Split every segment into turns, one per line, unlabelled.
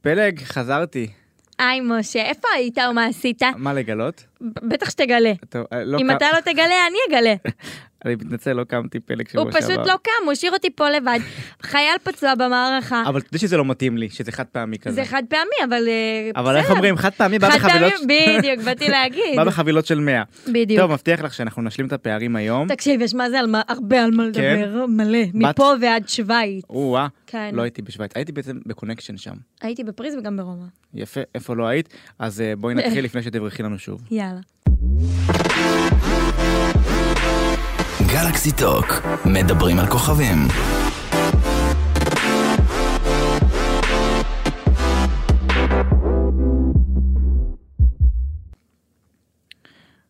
פלג, חזרתי.
היי, משה, איפה היית ומה עשית?
מה לגלות?
ב- בטח שתגלה.
טוב, אה, לא
אם
קם-
אתה לא תגלה, אני אגלה.
אני מתנצל, לא קמתי פלג שבוע
הוא
שעבר.
פשוט לא קם, הוא השאיר אותי פה לבד. חייל פצוע במערכה.
אבל אתה יודע שזה לא מתאים לי, שזה חד פעמי כזה.
זה חד פעמי, אבל אה, בסדר.
כן. אבל איך אומרים, חד פעמי בא
חד
בחבילות...
פעמי, בדיוק, באתי להגיד.
בא בחבילות של 100.
בדיוק.
טוב, אמ? מבטיח לך שאנחנו נשלים את הפערים היום.
תקשיב, יש מה זה, על מה- הרבה על מה
כן?
לדבר, מלא. מפה ועד שווייץ.
או-אה,
כן.
לא הייתי בשוויץ, הייתי בעצם בקונקשן שם.
הייתי בפריז וגם ברומא.
יפה, איפה לא היית? אז אה, בואי נתחיל לפני שתברכי לנו שוב.
יאללה.
גלקסי טוק, מדברים על כוכבים.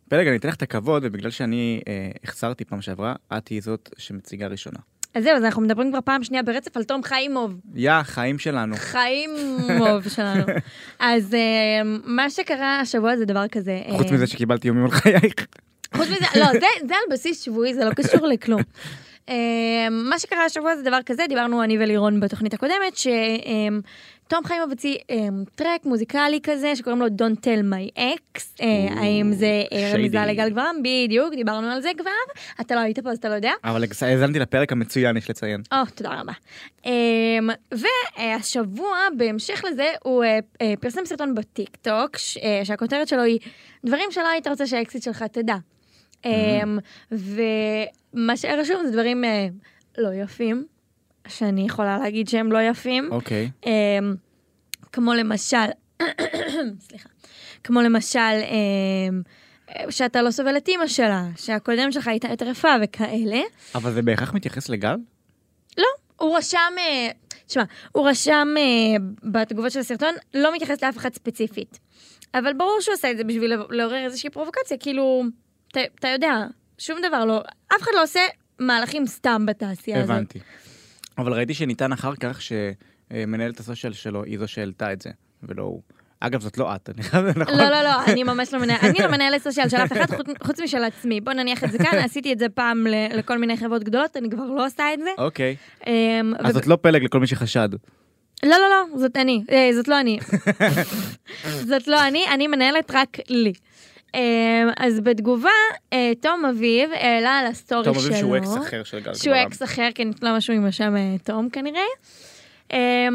פלג, אני אתן לך את הכבוד, ובגלל שאני אה, החסרתי פעם שעברה, את תהיי זאת שמציגה ראשונה.
אז זהו, אז אנחנו מדברים כבר פעם שנייה ברצף על תום חיימוב.
יא, חיים שלנו.
אה. חיימוב שלנו. אז אה, מה שקרה השבוע זה דבר כזה. אה,
חוץ מזה שקיבלתי איומים על חייך.
חוץ מזה, לא, זה, זה על בסיס שבועי, זה לא קשור לכלום. אמ, מה שקרה השבוע זה דבר כזה, דיברנו אני ולירון בתוכנית הקודמת, אה, שתום חיימוב הוציא אמ, טרק מוזיקלי כזה שקוראים לו Don't Tell My Ex, אה, האם זה אה,
shady.
רמיזה לגל גברם? בדיוק, דיברנו על זה כבר, אתה לא היית פה אז אתה לא יודע.
אבל האזנתי לפרק המצוין, יש לציין.
או, תודה רבה. אמ, והשבוע, בהמשך לזה, הוא אה, אה, פרסם סרטון בטיקטוק, ש- אה, שהכותרת שלו היא דברים שלא היית רוצה שהאקסיט שלך תדע. אמ, ומה שהיה רשום זה דברים אה, לא יפים, שאני יכולה להגיד שהם לא יפים.
אוקיי.
אמ, כמו למשל, סליחה, כמו למשל, אמ, שאתה לא סובל את אימא שלה, שהקודם שלך הייתה טרפה וכאלה.
אבל זה בהכרח מתייחס לגל?
לא, הוא רשם, אה, תשמע, הוא רשם אה, בתגובות של הסרטון, לא מתייחס לאף אחד ספציפית. אבל ברור שהוא עשה את זה בשביל לעורר איזושהי פרובוקציה, כאילו, אתה- אתה יודע, שום דבר לא, אף אחד לא עושה מהלכים סתם בתעשייה הזאת.
הבנתי. אבל ראיתי שניתן אחר כך שמנהלת הסושיאל שלו היא זו שהעלתה את זה, ולא הוא. אגב, זאת לא את, אני חייב, נכון?
לא, לא, לא, אני ממש לא מנהלת, אני לא מנהלת סושיאל של אף אחד חוץ- חוץ משל עצמי. בוא נניח את זה כאן, עשיתי את זה פעם ל- לכל מיני חברות גדולות, אני כבר לא עושה את זה.
אוקיי.
אמ,
אז זאת לא פלג לכל מי שחשד.
לא, לא, לא, זאת אני. אה, זאת לא אני. זאת לא אני, אני מנהלת רק לי. אה, אז בתגובה, אה, תום אביב העלה על הסטורי שלו.
טוב, אבל שהוא אקס אחר של גל
שהוא
גברם.
אקס אחר, כן, לא משהו עם השם אה, תום כנראה. אה,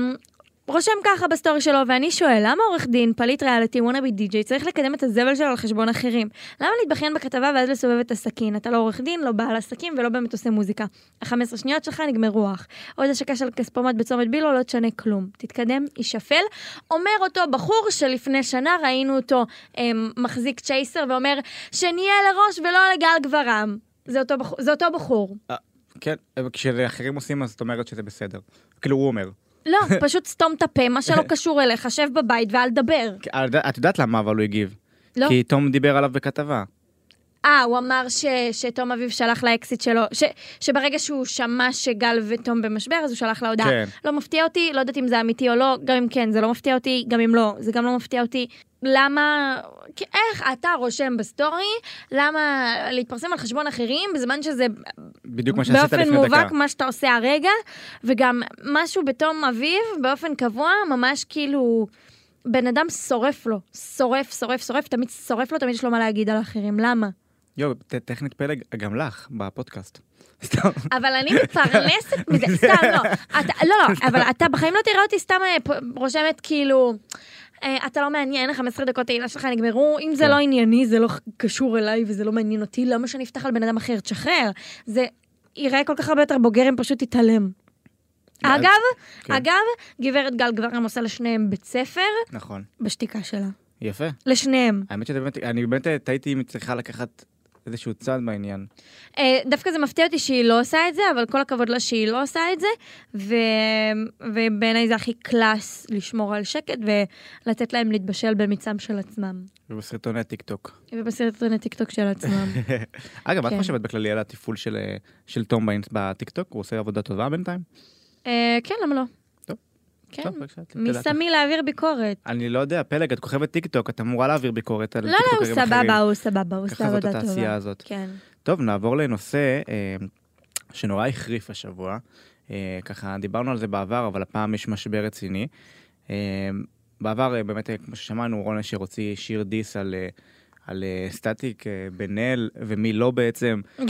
רושם ככה בסטורי שלו, ואני שואל, למה עורך דין, פליט ריאליטי, וונאבי די-ג'יי, צריך לקדם את הזבל שלו על חשבון אחרים? למה להתבכיין בכתבה ואז לסובב את הסכין? אתה לא עורך דין, לא בעל עסקים ולא באמת עושה מוזיקה. ה-15 שניות שלך נגמרו אח. עוד השקה של כספומט בצומת בילו לא תשנה כלום. תתקדם, יישפל. אומר אותו בחור שלפני שנה ראינו אותו אה, מחזיק צ'ייסר ואומר, שנהיה לראש ולא לגל גברם. זה אותו בחור. זה אותו בחור.
כן, אבל כשאחרים עושים, אז את אומרת שזה בסדר. כאילו, הוא אומר.
לא, פשוט סתום את הפה, מה שלא קשור אליך, שב בבית ואל דבר.
כי- אה, את יודעת למה אבל הוא הגיב.
לא.
כי תום דיבר עליו בכתבה.
אה, הוא אמר ש, שתום אביב שלח לאקסיט שלו, ש, שברגע שהוא שמע שגל ותום במשבר, אז הוא שלח לה הודעה.
כן.
לא מפתיע אותי, לא יודעת אם זה אמיתי או לא, גם אם כן, זה לא מפתיע אותי, גם אם לא, זה גם לא מפתיע אותי. למה, כי איך אתה רושם בסטורי, למה להתפרסם על חשבון אחרים, בזמן שזה
בדיוק מה שעשית
באופן
לפני דקה.
מובהק מה שאתה עושה הרגע, וגם משהו בתום אביב, באופן קבוע, ממש כאילו, בן אדם שורף לו, שורף, שורף, שורף, תמיד שורף לו, תמיד יש לו מה להגיד על אחרים, למה?
יואו, ט- טכנית פלג, גם לך, בפודקאסט. סתם.
אבל אני מתפרנסת מזה, סתם לא. אתה, לא, לא, אבל אתה בחיים לא תראה אותי סתם אה, פ- רושמת כאילו, אה, אתה לא מעניין, 15 דקות העילה שלך נגמרו, אם זה
כן.
לא ענייני, זה לא קשור אליי וזה לא מעניין אותי, למה שאני אפתח על בן אדם אחר, תשחרר. זה יראה כל כך הרבה יותר בוגר אם פשוט תתעלם.
אז-
אגב,
כן.
אגב, גברת גל גברם עושה לשניהם בית ספר
נכון.
בשתיקה שלה.
יפה.
לשניהם.
האמת שזה באמת, אני באמת אה, תהיתי אם היא צריכה לקחת איזשהו צעד בעניין.
אה, דווקא זה מפתיע אותי שהיא לא עושה את זה, אבל כל הכבוד לה שהיא לא עושה את זה, ו... ובעיניי זה הכי קלאס לשמור על שקט ולתת להם להתבשל במיצם של עצמם.
ובסרטוני הטיקטוק.
ובסרטוני טיקטוק של עצמם.
אגב, את
כן.
חושבת בכללי על התפעול של, אה, של תום באינס- בטיקטוק? הוא עושה עבודה טובה בינתיים?
אה, כן, למה לא?
טוב.
כן.
טוב, בבקשה, תדע
מי
לך.
שמי להעביר ביקורת?
אני לא יודע, פלג, את כוכבת טיקטוק, את אמורה להעביר ביקורת על
לא, לא, הוא
טיקטוקרים אחרים.
סבבה, הוא סבבה, הוא עושה
ככה זאת
עבודה
התעשייה
טובה.
הזאת.
כן.
טוב, נעבור לנושא אה, שנורא החריף השבוע. אה, ככה, דיברנו על זה בעבר, אבל הפעם יש משבר רציני. אה, אה, בעבר, אה, באמת, אה, כמו ששמענו, רון אשר הוציא שיר דיס על, אה, על אה, סטטיק, אה, בן אל, ומי לא בעצם. ו,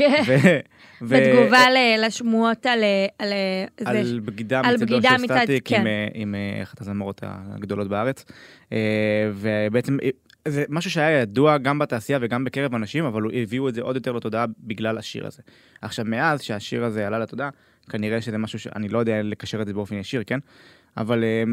ו-
בתגובה ל- לשמועות על... אה, על אה, זה.
על בגידה
על
מצדו
בגידה
של
מצד-
סטטיק
כן.
עם, אה, עם אה, אחת הזמרות הגדולות בארץ. אה, ובעצם אה, זה משהו שהיה ידוע גם בתעשייה וגם בקרב אנשים, אבל הוא- הביאו את זה עוד יותר לתודעה בגלל השיר הזה. עכשיו, מאז שהשיר הזה עלה לתודעה, כנראה שזה משהו שאני לא יודע לקשר את זה באופן ישיר, כן? אבל אה,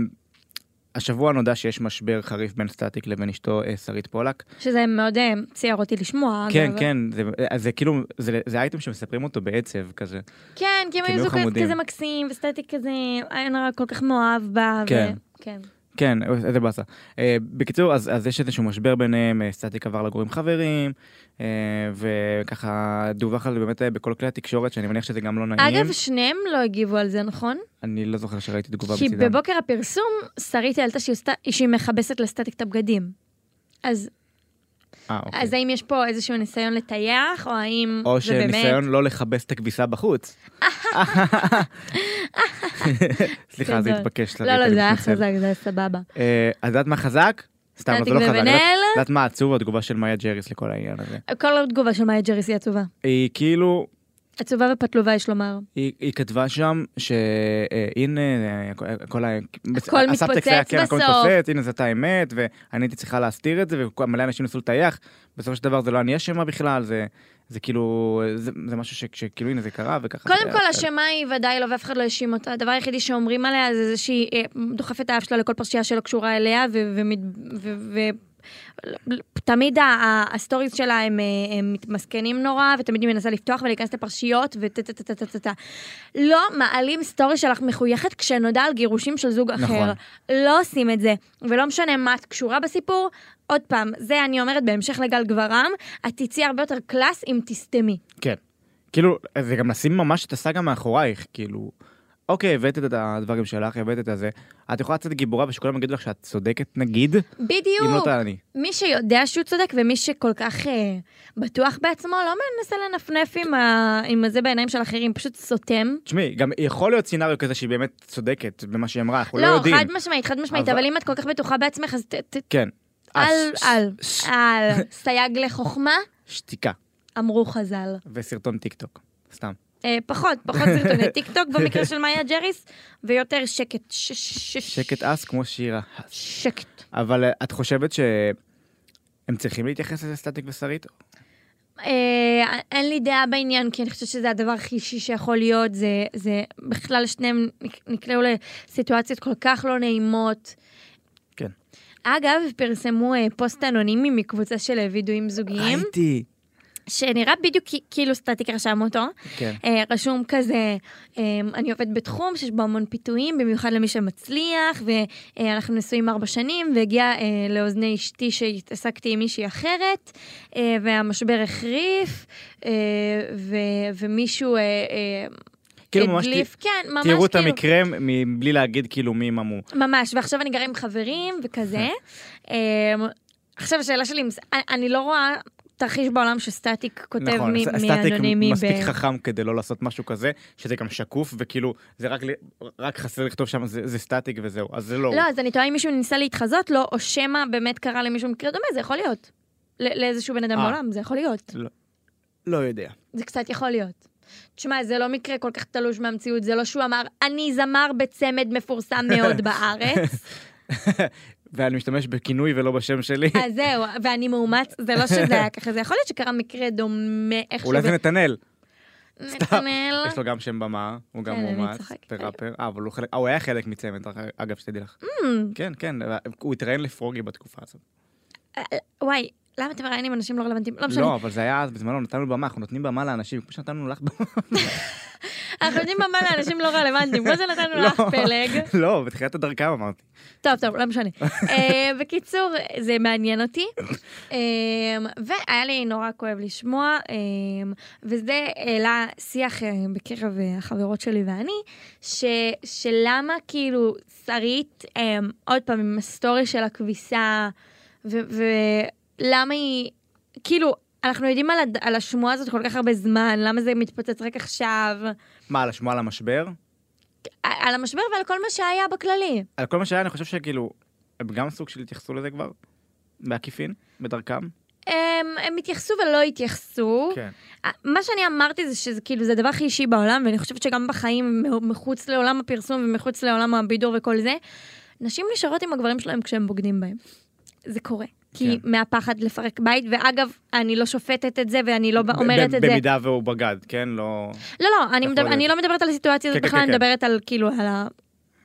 השבוע נודע שיש משבר חריף בין סטטיק לבין אשתו אה, שרית פולק.
שזה מאוד אה, ציער אותי לשמוע.
כן,
אגב.
כן, זה, זה כאילו, זה, זה אייטם שמספרים אותו בעצב כזה.
כן, כי הם
כי הם
היו
היו
זוג
חמודים.
כזה מקסים, וסטטיק כזה, עין הרע כל כך מאוהב בה. ו-
כן.
כן.
כן, איזה באסה. אה, בקיצור, אז, אז יש איזשהו משבר ביניהם, אה, סטטיק עבר לגור עם חברים, אה, וככה דווח על זה באמת אה, בכל כלי התקשורת, שאני מניח שזה גם לא נעים.
אגב, שניהם לא הגיבו על זה, נכון?
אני לא זוכר שראיתי תגובה
כי
בצידם.
בבוקר הפרסום, שרית העלתה שהיא עשתה- שהיא מכבסת לסטטיק את הבגדים. אז
אה, אוקיי.
אז האם יש פה איזשהו ניסיון לטייח, או האם
או
זה באמת...
שניסיון לא לכבס את הכביסה בחוץ. סליחה, זה
גדול.
התבקש. שרית,
לא, לא,
אני
זה היה
מתנצל.
חזק, זה היה סבבה.
אה, אז את יודעת מה חזק? סתם, אבל זה
סטטיק
לא חזק. את
ובן
יודעת-
אל?
את יודעת מה עצוב? התגובה של מאיה ג'ריס לכל העניין הזה.
כל התגובה של מאיה ג'ריס היא עצובה.
היא כאילו,
עצובה ופתלובה, יש לומר.
היא, היא כתבה שם שהנה, כל ה...
הכל
הסאבטקסט
מתפוצץ
היה, כן, הכל
בסוף.
מתפוצץ, הנה זאת האמת, ואני הייתי צריכה להסתיר את זה, ומלא אנשים ניסו לטייח. בסופו של דבר זה לא אני אשמה בכלל, זה, זה כאילו, זה, זה משהו ש, שכאילו הנה זה קרה וככה. זה
קודם
היה.
כל, אשמה היא ודאי לא, ואף אחד לא האשים אותה. הדבר היחידי שאומרים עליה זה זה שהיא אה, דוחפת את האף שלה לכל פרשייה שלא קשורה אליה, ו- ומת- ו... ו- תמיד ה- ה- הסטוריז שלה הם, אה, הם מתמסכנים נורא, ותמיד היא מנסה לפתוח ולהיכנס לפרשיות וטה טה טה טה טה טה. לא מעלים סטורי שלך מחויכת כשנודע על גירושים של זוג אחר.
נכון.
לא עושים את זה, ולא משנה מה את קשורה בסיפור. עוד פעם, זה אני אומרת בהמשך לגל גברם, את תצאי הרבה יותר קלאס אם תסתמי.
כן. כאילו, זה גם לשים ממש את הסאגה מאחורייך, כאילו, אוקיי, הבאת את הדברים שלך, הבאת את הזה, את יכולה לצאת גיבורה ושכולם יגידו לך שאת צודקת נגיד,
בדיוק.
אם לא תעני.
מי שיודע שהוא צודק ומי שכל כך אה, בטוח בעצמו, לא מנסה לנפנף עם, ה... עם הזה בעיניים של אחרים, פשוט סותם.
תשמעי, גם יכול להיות סצנריו כזה שהיא באמת צודקת במה שהיא אמרה, אנחנו לא
לא,
יודעים.
חד משמעית, חד משמעית, אבל...
אבל-
אבל אם את כל כך בטוחה בעצמך, אז ת... ת...
כן.
אל,
ש-
אל,
ש-
אל, סייג לחוכמה,
שתיקה
אמרו חז"ל.
וסרטון טיק טוק, סתם.
אה, פחות, פחות סרטוני טיק טוק במקרה של מאיה ג'ריס, ויותר שקט. ש- ש- ש-
שקט אס כמו שירה.
שקט.
אבל אה, את חושבת שהם צריכים להתייחס לזה סטטיק ושרית?
אה, אין לי דעה בעניין, כי אני חושבת שזה הדבר הכי אישי שיכול להיות. זה, זה בכלל שניהם נק- נקלעו לסיטואציות כל כך לא נעימות.
כן.
אגב, פרסמו אה, פוסט אנונימי מקבוצה של אה, וידואים זוגיים,
ראיתי.
שנראה בדיוק כ- כאילו סטטיק רשם אותו.
כן.
אה, רשום כזה, אה, אני עובד בתחום שיש בו המון פיתויים, במיוחד למי שמצליח, ואנחנו נשואים ארבע שנים, והגיע אה, לאוזני אשתי שהתעסקתי עם מישהי אחרת, אה, והמשבר החריף, אה, ו- ומישהו אה, אה,
כאילו ממש
הדליף, כן, ממש
תראו
כאילו,
את המקרה מבלי להגיד כאילו מי ממו.
ממש, ועכשיו אני גרה עם חברים וכזה. אה, עכשיו השאלה שלי, אם זה- אני- אני לא רואה... תרחיש בעולם שסטטיק כותב
נכון,
מי-
ס-
מי אנונימי. ב-
מספיק חכם כדי לא לעשות משהו כזה, שזה גם שקוף, וכאילו, זה רק ל- רק חסר לכתוב שם, זה זה סטטיק וזהו, אז זה לא הוא.
לא, אז אני טועה אם מישהו ניסה להתחזות לו, או שמא באמת קרה למישהו מקרה דומה, זה יכול להיות. ל- לאיזשהו בן אדם
אה.
בעולם, זה יכול להיות.
לא יודע.
זה קצת יכול להיות. תשמע, זה לא מקרה כל כך תלוש מהמציאות, זה לא שהוא אמר, אני זמר בצמד מפורסם מאוד בארץ,
ואני משתמש בכינוי ולא בשם שלי.
אז זהו, ואני מאומץ, זה לא שזה היה ככה, זה יכול להיות שקרה מקרה דומה איכשהו.
אולי זה
ב-
נתנאל.
נתנאל.
יש לו גם שם במה, הוא גם
כן, אני
מומץ,
צוחקת. Mm.
וראפר. אה, אבל הוא חלק, אה, הוא היה חלק מצמד, אגב, שתדעי לך. כן, כן, הוא התראיין לפרוגי בתקופה הזאת.
וואי, למה אתם מראיינים אנשים לא רלוונטיים? לא משנה.
לא, אבל זה היה אז בזמנו, נתנו במה, אנחנו נותנים במה לאנשים, כמו שנתנו לך במה.
אנחנו יודעים מה לאנשים לא רלוונטיים, כמו שנתנו לך
לא.
פלג.
לא, בתחילת הדרכם אמרתי.
טוב, טוב, לא משנה. אה, בקיצור, זה מעניין אותי. אה, והיה לי נורא כואב לשמוע, אה, וזה העלה שיח אה, בקרב אה, החברות שלי ואני, ש, שלמה כאילו שרית, אה, עוד פעם, עם הסטורי של הכביסה, ולמה היא, כאילו, אנחנו יודעים על, הד- על השמועה הזאת כל כך הרבה זמן, למה זה מתפוצץ רק עכשיו?
מה, על השמועה על המשבר?
על המשבר ועל כל מה שהיה בכללי.
על כל מה שהיה, אני חושב שכאילו, הם גם סוג של התייחסו לזה כבר, בעקיפין, בדרכם.
הם, הם התייחסו ולא התייחסו.
כן.
מה שאני אמרתי זה שזה כאילו, זה הדבר הכי אישי בעולם, ואני חושבת שגם בחיים, מחוץ לעולם הפרסום ומחוץ לעולם הבידור וכל זה, נשים נשארות עם הגברים שלהם כשהם בוגדים בהם. זה קורה. כי
כן.
מהפחד לפרק בית, ואגב, אני לא שופטת את זה ואני לא ב-
ב-
אומרת
ב-
את זה.
במידה והוא בגד, כן? לא...
לא, לא, אני,
יכול
מדבר,
להיות.
אני לא מדברת על הסיטואציה הזאת
כן, כן,
בכלל, אני
כן, כן.
מדברת על כאילו על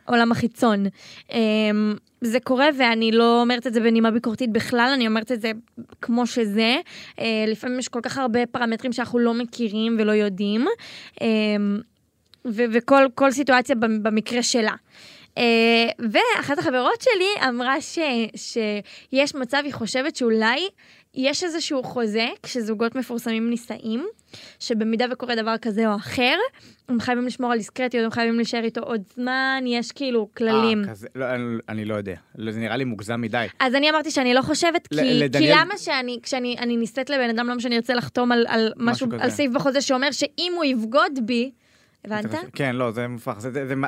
העולם החיצון. אמ, זה קורה ואני לא אומרת את זה בנימה ביקורתית בכלל, אני אומרת את זה כמו שזה. אה, לפעמים יש כל כך הרבה פרמטרים שאנחנו לא מכירים ולא יודעים, אמ, ו- וכל כל סיטואציה במ- במקרה שלה. אה, ואחת החברות שלי אמרה ש, שיש מצב, היא חושבת שאולי יש איזשהו חוזה כשזוגות מפורסמים נישאים, שבמידה וקורה דבר כזה או אחר, הם חייבים לשמור על דיסקרטיות, הם חייבים להישאר איתו עוד זמן, יש כאילו כללים.
אה, כזה, לא, אני- אני לא יודע. לא, זה נראה לי מוגזם מדי.
אז אני אמרתי שאני לא חושבת,
ל-
כי, כי
לדניאל-
למה שאני, כשאני אני נישאת לבן אדם, למה שאני ארצה לחתום על, על משהו,
משהו
משהו
כזה.
על סעיף בחוזה שאומר שאם הוא יבגוד בי, הבנת?
כן, לא, זה מופרך. זה, זה, זה, מה-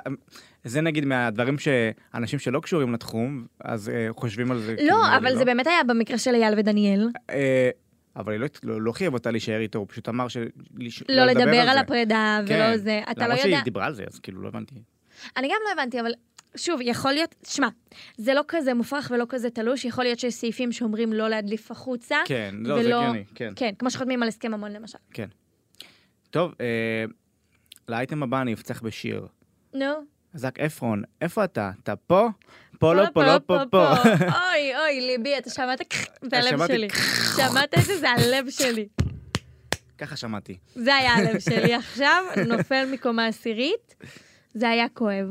זה נגיד מהדברים שאנשים שלא קשורים לתחום, אז אה, חושבים על זה. כאילו,
לא, אבל זה באמת היה במקרה של אייל ודניאל.
אה, אבל היא לא, לא, לא חייב אותה להישאר איתו, הוא פשוט אמר ש... לש-
לא לדבר
זה.
על הפרידה ולא
כן.
זה, אתה לא
למרות
יודע.
שהיא דיברה על זה, אז כאילו לא הבנתי.
אני גם לא הבנתי, אבל שוב, יכול להיות, שמע, זה לא כזה מופרך ולא כזה תלוש, יכול להיות שיש סעיפים שאומרים לא להדליף החוצה.
כן, לא, זה
ולא-
הגיוני, כן.
כן, כמו שחותמים על הסכם ממון למשל.
טוב, אה, לאייטם הבא אני אפצח בשיר.
נו.
זק עפרון, איפה אתה? אתה פה? פה לא פה לא פה פה.
אוי, אוי, ליבי, אתה שמעת? זה
אז
הלב
שמעתי.
שלי. שמעת את זה? זה הלב שלי.
ככה שמעתי.
זה היה הלב שלי עכשיו, נופל מקומה עשירית. זה היה כואב.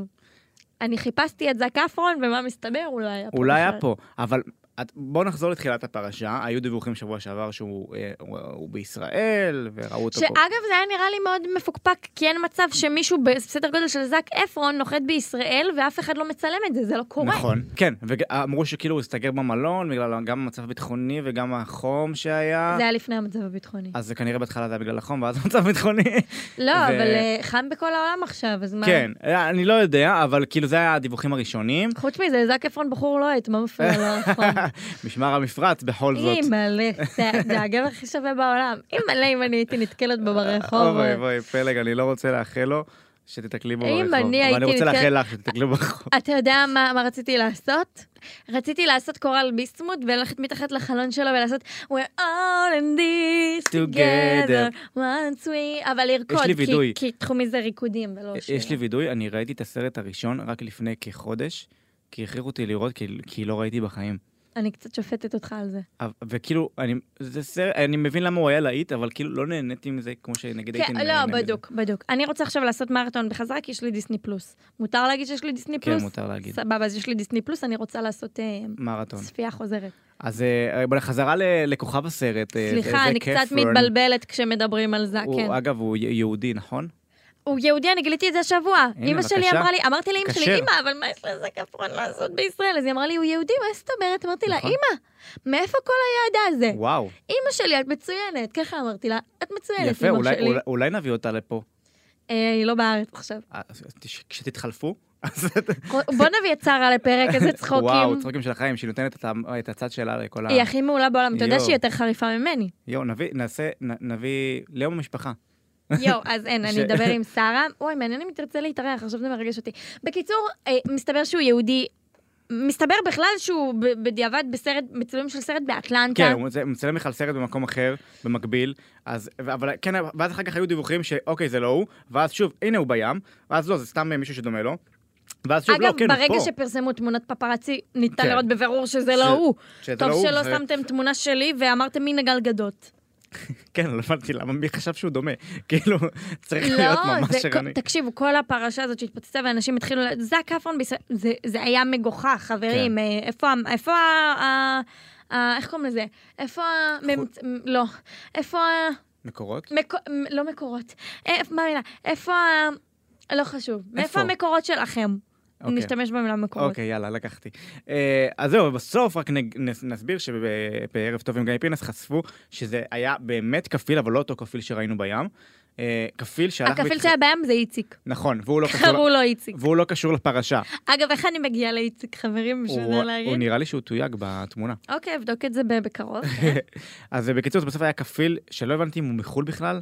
אני חיפשתי את זק אפרון, ומה מסתבר? אולי היה פה.
אולי
בכלל.
לא היה פה, אבל את- בואו נחזור לתחילת הפרשה. היו דיווחים שבוע שעבר שהוא אה, הוא- הוא בישראל, וראו אותו פה.
שאגב, זה היה נראה לי מאוד מפוקפק, כי אין מצב שמישהו בסדר גודל של זק אפרון נוחת בישראל, ואף אחד לא מצלם את זה, זה לא קורה.
נכון, כן, ואמרו שכאילו הוא הסתגר במלון בגלל גם המצב הביטחוני וגם החום שהיה,
זה היה לפני המצב הביטחוני.
אז זה כנראה בהתחלה זה היה בגלל החום ואז המצב הביטחוני.
לא,
אה, ו-
אבל אה, חם בכל העולם עכשיו, אז מה?
כן, אני לא יודע, אבל כאילו זה היה הדיווחים הראשונים.
חוץ מזה, זק אפרון בחור לוהט, מה מפריע לו החום?
משמר המפרץ בכל זאת.
אימא'לה, זה- זה הגבר הכי שווה בעולם. אימא'לה, אם אני הייתי נתקלת בו ברחוב.
אוי אוי, פלג, אני לא רוצה לאחל לו שתתקלי בו
אם
ברחוב.
אני
אבל
הייתי
אני רוצה
נתקל-
לאחל לך שתתקלי ברחוב.
אתה יודע מה, מה רציתי לעשות? רציתי לעשות קורל ביסמוט וללכת מתחת לחלון שלו ולעשות We're all in this together
Together.
once we... אבל לרקוד,
לי
כי-
וידוי.
כי תחומי זה ריקודים ולא שירה.
יש לי וידוי, אני ראיתי את הסרט הראשון רק לפני כחודש, כי הכריחו אותי לראות, כי- כי לא ראיתי בחיים.
אני קצת שופטת אותך על זה.
אבל- וכאילו, אני, זה סרט, אני מבין למה הוא היה להיט, אבל כאילו לא נהניתי מזה כמו שנגיד הייתי
כן,
נהנה
לא,
מזה.
בדוק, בדוק. אני רוצה עכשיו לעשות מרתון בחזרה, כי יש לי דיסני פלוס. מותר להגיד שיש לי דיסני
כן,
פלוס?
מותר להגיד.
סבבה, אז יש לי דיסני פלוס, אני רוצה לעשות אה,
מרתון.
צפייה חוזרת.
אז אה, בוא, חזרה ל- לכוכב הסרט. אה, זה-
סליחה,
זה
אני קצת
קפרן.
מתבלבלת כשמדברים על זה,
הוא-
כן.
אגב, הוא י- יהודי, נכון?
הוא יהודי, אני גיליתי את זה השבוע.
הנה,
אימא שלי
בבקשה.
אמרה לי, אמרתי לאימא שלי,
כשר.
אימא, אבל מה יש לזה כפרון לעשות בישראל? אז היא אמרה לי, הוא יהודי, מה זאת אומרת? אמרתי לה,
נכון.
אימא, מאיפה כל הידע הזה?
וואו,
אימא שלי, את מצוינת. ככה אמרתי לה, כן, את מצוינת,
יפה,
אימא
אולי-
שלי.
אולי- אולי נביא אותה לפה.
אה, היא לא בארץ עכשיו.
אה, כש- כשתתחלפו, אז...
בוא נביא את שרה לפרק, איזה
וואו,
צחוקים.
צחוקים של החיים, שהיא נותנת את ה- את הצד שלה לכל ה...
היא הכי מעולה בעולם, אתה יודע
יואו.
שהיא יותר חריפה ממני.
יואו, נביא, נעשה, נ- נביא ליום המשפחה.
יואו, אז אין,
ש-
אני אדבר עם שרה. אוי, מעניין אם היא תרצה להתארח, עכשיו זה מרגש אותי. בקיצור, אה, מסתבר שהוא יהודי. מסתבר בכלל שהוא ב- בדיעבד בסרט, בצילום של סרט באטלנטה.
כן, הוא מצ- הוא מצלם בכלל סרט במקום אחר, במקביל, אז, ו- אבל כן, ואז אחר כך היו דיווחים שאוקיי, זה לא הוא, ואז שוב, הנה הוא בים, ואז לא, זה סתם אה, מישהו שדומה לו, ואז שוב,
אגב,
לא, כן, הוא פה.
ברגע שפרסמו תמונת פפרצי, ניתן
כן.
לראות בבירור שזה לא
ש-
הוא.
שזה
טוב
לא הוא,
שלא
זה-
שמתם תמונה שלי ואמרתם מין הגלגדות.
כן, לא הבנתי למה, מי חשב שהוא דומה? כאילו, צריך להיות
לא,
ממש
זה-
ערני.
תקשיבו, כל הפרשה הזאת שהתפוצצה ואנשים התחילו, ל- זק אפרון בישראל, זה- זה היה מגוחך,
כן.
חברים. אה, איפה ה- איפה ה... ה- ה- איך קוראים לזה? איפה ה... ממצ- לא. איפה ה...
מקורות?
מקו- מ- לא מקורות. אה, מה המילה? איפה ה... לא חשוב. מאיפה המקורות שלכם?
אוקיי.
נשתמש במילה מקורות.
אוקיי, יאללה, לקחתי. אה, אז זהו, בסוף רק נג- נס- נסביר שבערב טוב עם גיא פינס חשפו שזה היה באמת כפיל, אבל לא אותו כפיל שראינו בים. אה, כפיל שהלך...
הכפיל
והתח-
שהיה בים זה איציק.
נכון, והוא לא
קראו
קשור...
לו איציק.
והוא לא קשור לפרשה.
אגב, איך אני מגיעה לאיציק, חברים, בשביל
הוא הוא
להרים?
נראה לי שהוא תויג בתמונה.
אוקיי, אבדוק את זה ב- בקרוב.
אז אה, בקיצור, זה בסוף היה כפיל שלא הבנתי אם הוא מחו"ל בכלל.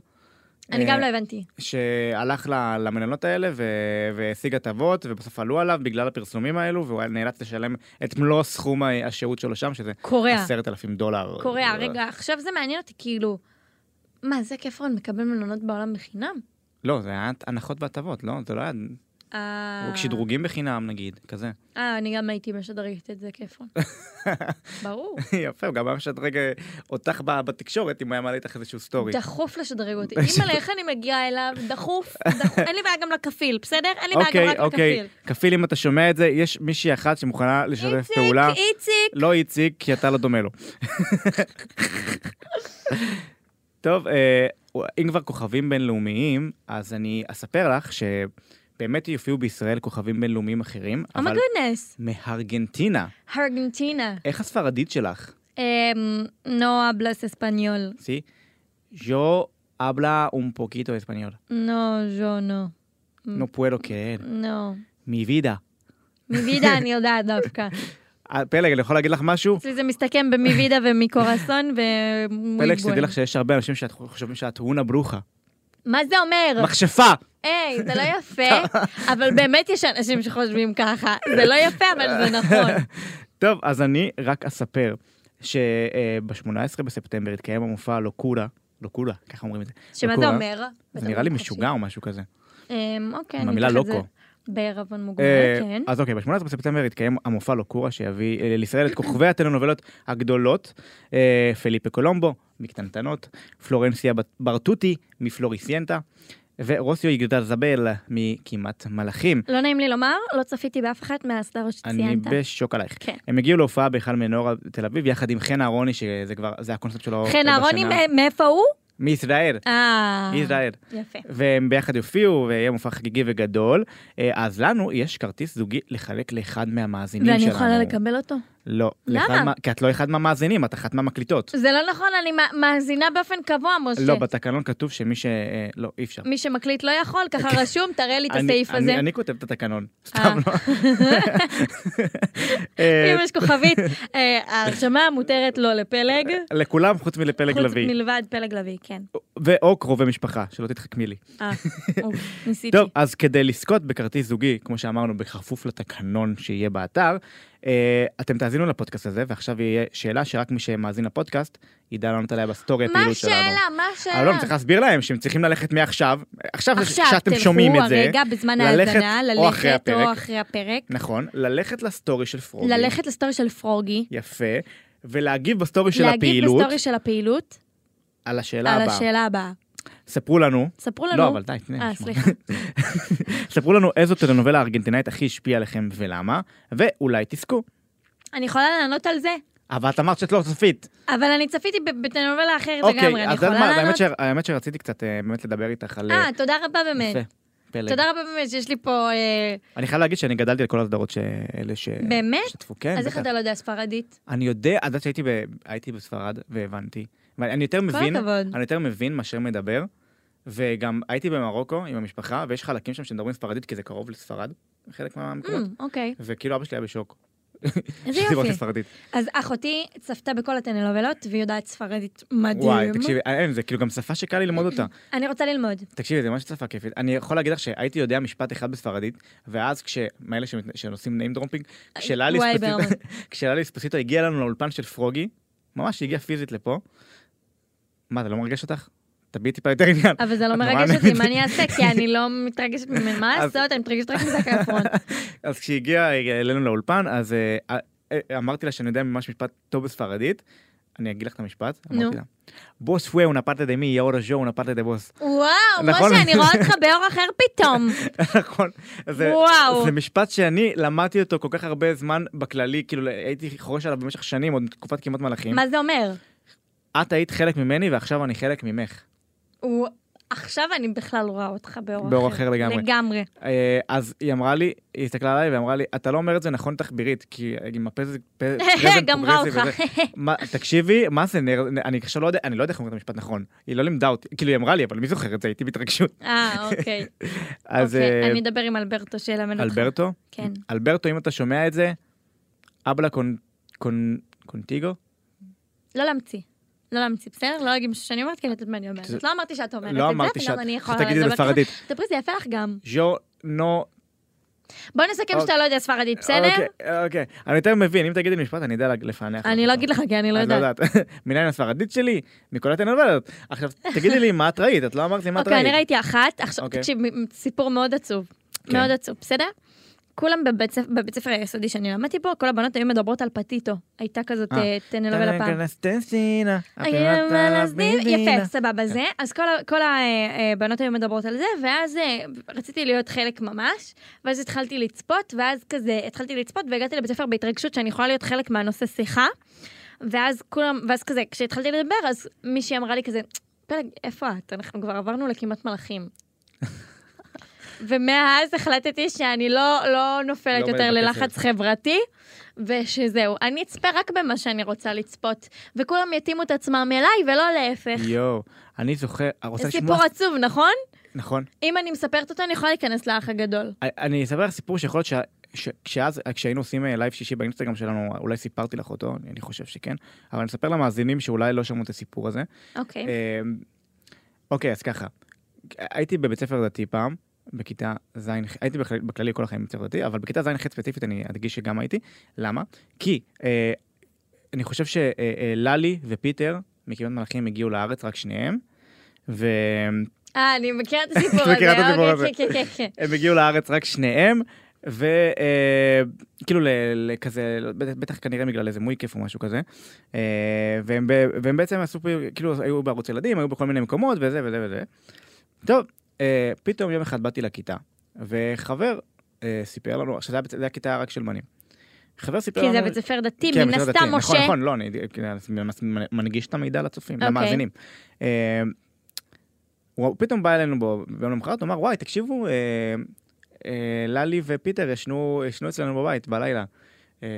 אני גם
אה,
לא הבנתי.
שהלך ל- למנהלות האלה ו- והשיג הטבות, ובסוף עלו עליו בגלל הפרסומים האלו, והוא היה נאלץ לשלם את מלוא סכום ה- השהות שלו שם, שזה
קוריאה.
עשרת אלפים דולר.
קוריאה, רגע, עכשיו זה מעניין אותי, כאילו, מה, זה כיפרון מקבל מלונות בעולם בחינם?
לא, זה היה הנחות והטבות, לא? זה לא היה...
אה,
שדרוגים בחינם נגיד, כזה.
אה, אני גם הייתי משדרגת את זה כיפרון. ברור.
יפה, הוא גם היה משדרג אה, אותך ב- בתקשורת, אם הוא היה מעלה איתך איזשהו סטורי.
דחוף לשדרג אותי. אימא'לה, איך אני מגיעה אליו? דחוף, דחוף. אין לי בעיה גם לכפיל, בסדר? אין לי בעיה גם רק
אוקיי,
לכפיל.
כפיל, אם אתה שומע את זה, יש מישהי אחת שמוכנה לשתף
איציק,
פעולה.
איציק.
לא איציק, כי אתה לא דומה לו. טוב, אה, אם כבר כוכבים בינלאומיים, אז אני אספר לך שבאמת יופיעו בישראל כוכבים בינלאומיים אחרים,
Oh
אבל
אומגודנס,
מארגנטינה.
ארגנטינה.
איך הספרדית שלך?
אמ, No hablas español.
סי? ז'ו אבלה אום פוקיטו אספניול.
No, yo no. Mm.
נו פואלו כן.
No.
מי וידה.
מווידה אני יודעת דווקא.
אה, פלג, אני יכול להגיד לך משהו?
אצלי זה מסתכם במווידה ומקורסון ומוויגוון.
פלג, שתדעי לך שיש הרבה אנשים שחושבים שאת הונה ברוכה.
מה זה אומר?
מכשפה!
היי, זה לא יפה, אבל באמת יש אנשים שחושבים ככה. זה לא יפה, אבל זה נכון.
טוב, אז אני רק אספר שב-18 בספטמבר התקיים המופע לוקולה, לוקולה, ככה אומרים את זה.
שמה זה
לוקולה.
אומר?
זה נראה לי משוגע או משהו כזה.
אמ, אוקיי,
עם
אני
המילה
אקח את זה.
לוקו.
בערבון מוגבל,
אה,
כן.
אז אוקיי, ב-18 בספטמבר התקיים המופע לוקורה שיביא אה, לישראל את כוכבי הטלנובלות הגדולות, אה, פליפה קולומבו מקטנטנות, פלורנסיה בת- ברטוטי מפלוריסיינטה, ורוסיו יגדלזבל מכמעט מלאכים.
לא נעים לי לומר, לא צפיתי באף אחת מהסדרות
אני
שציינת.
בשוק עלייך.
כן.
הם הגיעו להופעה בהיכל מנורה תל אביב יחד עם חן אהרוני, שזה כבר, זה הקונספט שלו.
חן
בשנה.
אהרוני, מ- מאיפה הוא?
מישראל.
אה...
מישראל.
יפה.
והם ביחד יופיעו, ויהיה מופע חגיגי וגדול. אה, אז לנו יש כרטיס זוגי לחלק לאחד מהמאזינים שלנו.
ואני יכולה לקבל אותו?
לא.
למה?
לאחד מה- כי את לא אחד מהמאזינים, את אחת מהמקליטות.
זה לא נכון, אני מא- מאזינה באופן קבוע, משה.
לא, בתקנון כתוב שמי ש... אה, לא, אי אפשר.
מי שמקליט לא יכול, ככה רשום, תראה לי את
כן. אני-
הסעיף
אני-
הזה.
אני כותב את התקנון,
אה.
סתם לא. אה,
אם יש כוכבית, אה, ההרשמה מותרת לא לפלג.
לכולם חוץ מלפלג
חוץ
לביא.
מלבד פלג לביא, כן.
ואו קרובי משפחה, שלא תתחכמי לי.
אה, אוף, ניסיתי.
טוב, אז כדי לזכות בכרטיס זוגי, כמו שאמרנו, בכפוף לתקנון שיהיה באתר, אה, אתם תאזינו לפודקאסט הזה, ועכשיו יהיה שאלה שרק מי שמאזין לפודקאסט ידע לענות עליה בסטורי
מה
הפעילות שלנו.
השאלה? מה השאלה?
אבל לא, אני צריך להסביר להם שהם צריכים ללכת מעכשיו, עכשיו זה ש-
עכשיו,
שאתם שומעים את זה,
תלכו הרגע בזמן
ללכת
ההאזנה,
או
ללכת
אחרי הפרק.
או אחרי הפרק,
נכון, ללכת לסטורי של פרוגי,
ללכת לסטורי של פרוגי,
יפה, ולהגיב בסטורי של
להגיב
הפעילות,
בסטורי של הפעילות,
על השאלה
על
הבאה.
השאלה הבאה.
ספרו לנו,
ספרו לנו.
לא, אבל די, תני לי
אה,
לשמוע.
סליחה.
ספרו לנו איזו טלנובלה ארגנטינאית הכי השפיעה עליכם ולמה, ואולי תזכו.
אני יכולה לענות על זה,
אבל את אמרת שאת לא צפית.
אבל אני צפיתי ב- בטלנובלה אחרת לגמרי,
אוקיי,
אני
אז את יודעת
יכולה
מה, האמת
לענות?
ש- האמת שרציתי קצת אה, באמת לדבר איתך על...
אה, תודה רבה באמת.
יפה, פלג.
תודה רבה באמת שיש לי פה... אה,
אני חייב להגיד שאני גדלתי על כל הסדרות שאלה ש...
באמת?
שתפו, כן.
אז איך
בטח.
אתה לא יודע ספרדית?
אני יודע, את יודעת שהייתי ב- הייתי בספרד והבנתי. ואני אני יותר מבין,
הכבוד.
אני יותר מבין מאשר מדבר. וגם הייתי במרוקו עם המשפחה, ויש חלקים שם שמדברים ספרדית, כי זה קרוב לספרד, חלק מהמקומות.
אמ, אוקיי,
וכאילו אבא שלי היה בשוק.
איזה
שדיברתי
יופי.
ספרדית.
אז אחותי צפתה בכל הטלנובלות והיא יודעת ספרדית מדהים.
וואי, תקשיבי, אין, זה כאילו גם שפה שקל ללמוד אותה.
אני רוצה ללמוד.
תקשיבי, זה ממש שפה כיפית. אני יכול להגיד לך שהייתי יודע משפט אחד בספרדית, ואז כש... מאלה שמת- שנוסעים name dropping, כשללי
וואי,
אספסיטו-
ברמן.
כשללי אספסיטו הגיע לנו לאולפן של פרוגי, ממש הגיע פיזית לפה. מה, זה לא מרגש אותך? תביעי טיפה יותר עניין.
אבל זה לא
את נורא
מרגש אותי,
נהנית.
מה אני אעשה? כי אני לא מתרגשת ממנו, מה
אז-
לעשות? אני מתרגשת רק מזה כיפרון.
אז כשהגיע אלינו לאולפן, אז אה, אה, אמרתי לה שאני יודע ממש משפט טוב בספרדית. אני אגיד לך את המשפט,
נו.
אמרתי לה. בוס פווה אונה פרטה דה מי, יאורה ז'ו אונה פרטה דה בוס.
וואו,
נכון.
משה, אני רואה אותך באור אחר פתאום.
נכון. זה-
וואו.
זה משפט שאני למדתי אותו כל כך הרבה זמן בכללי, כאילו הייתי חורש עליו במשך שנים, עוד מתקופת כמעט מלאכים.
מה זה אומר?
את היית חלק ממני ועכשיו אני חלק ממך.
הוא- עכשיו אני בכלל רואה אותך באור אחר.
באור אחר לגמרי.
לגמרי.
אה, אז היא אמרה לי, היא הסתכלה עליי והיא אמרה לי, אתה לא אומר את זה נכון תחבירית, כי עם הפז... פ- פרזנט
גמרה
פרוגרסיב
אותך.
וזה." מה- תקשיבי, מה זה נר... אני עכשיו לא יודע, אני לא יודע איך אומרים את המשפט נכון. היא לא לימדה אותי, כאילו היא אמרה לי, אבל מי זוכר את זה? הייתי בהתרגשות.
אה, אוקיי.
אז
אוקיי,
אה,
אני אדבר עם אלברטו שילמד אותך.
אלברטו,
כן.
אלברטו, אם אתה שומע את זה, אבלה קונ- קונ- קונטיגו?
לא להמציא. לא להמציא, בסדר? לא להגיד משהו שאני אומרת, כי אני יודעת מה אני אומרת.
זה-
את לא אמרתי שאת אומרת את זה,
לא אמרתי שאת...
וגם אני יכולה
תגידי את זה
לדבר ככה.
בספרדית.
דברי, זה יפה לך גם.
ז'ו נו...
בואי נסכם
אוקיי.
שאתה לא יודע ספרדית, בסדר?
אוקיי, אוקיי. אני יותר מבין, אם תגידי לי משפט, אני יודע לפענח.
אני לא
אותו.
אגיד לך, כי אני לא
את לא
יודעת.
יודעת. מניין הספרדית שלי? מכל הטלנובלות. עכשיו, תגידי לי מה את ראית, את לא אמרת לי מה את
אוקיי, אני
ראית.
ראיתי אחת. עכשיו,
אוקיי.
תקשיב, מ- מ- סיפור מאוד עצוב.
כן.
מאוד עצוב, בסדר? כולם בבית ספ- בבית ספר היסודי שאני למדתי בו, כל הבנות היו מדברות על פטיטו. הייתה כזאת
אה.
אה, טנלובלה פעם.
טנסטינה,
היה
הפירטה
מה להסדיר,
לביבינה.
אה, יפה, סבבה זה. אז כל ה- כל הבנות היו מדברות על זה, ואז אה, רציתי להיות חלק ממש, ואז התחלתי לצפות, ואז כזה התחלתי לצפות, והגעתי לבית ספר בהתרגשות שאני יכולה להיות חלק מהנושא שיחה. ואז כולם, ואז כזה, כשהתחלתי לדבר, אז מישהי אמרה לי כזה, פלג, איפה את? אנחנו כבר עברנו לכמעט מלאכים. ומאז החלטתי שאני לא, לא נופלת
לא
יותר
עומדת
ללחץ חברתי, ושזהו, אני אצפה רק במה שאני רוצה לצפות, וכולם יתאימו את עצמם אליי ולא להפך.
יואו, אני זוכר, את רוצה
זה
לשמוע?
סיפור עצוב, נכון?
נכון. אם
אם אני מספרת אותו, אני יכולה להיכנס לאח הגדול.
אני- אני אספר לך סיפור שיכול להיות שה- ש- כשאז- כשהיינו עושים אה, לייב שישי באינסטגרם שלנו, אולי סיפרתי לך אותו, אני חושב שכן, אבל אני אספר למאזינים שאולי לא שמעו את הסיפור הזה.
אוקיי.
אמ, אוקיי, אז ככה. הייתי בבית ספר דתי פעם, בכיתה ז', הייתי בכלל- בכללי כל החיים בבית ספר דתי, אבל בכיתה ז' ח' ספציפית אני אדגיש שגם הייתי. למה? כי אה, אני חושב אה, שללי ופיטר מכמעט מלאכים הגיעו לארץ, רק שניהם, והם
אה, אני מכירה את הסיפור
את
הזה.
מכירה את הסיפור
אוקיי,
הזה.
כן, כן, כן.
הגיעו לארץ רק שניהם. וכאילו לכזה, בטח כנראה בגלל איזה מויקף או משהו כזה. אה, והם, ב- והם בעצם עשו, פה- כאילו היו בערוץ ילדים, היו בכל מיני מקומות וזה וזה וזה. טוב, אה, פתאום יום אחד באתי לכיתה, וחבר אה, סיפר לנו, עכשיו זה היה בית- זה היה כיתה רק של בנים. חבר סיפר
כי
לנו...
זה בית ספר דתי,
כן,
מן
בסדר,
הסתם,
דתי.
משה.
נכון, נכון, לא, אני אני מנגיש את המידע לצופים,
אוקיי.
למאזינים. אה, הוא פתאום בא אלינו בו- ביום למחרת, הוא אמר, וואי, תקשיבו, אה, אה, ללי ופיטר ישנו ישנו אצלנו בבית בלילה. אה,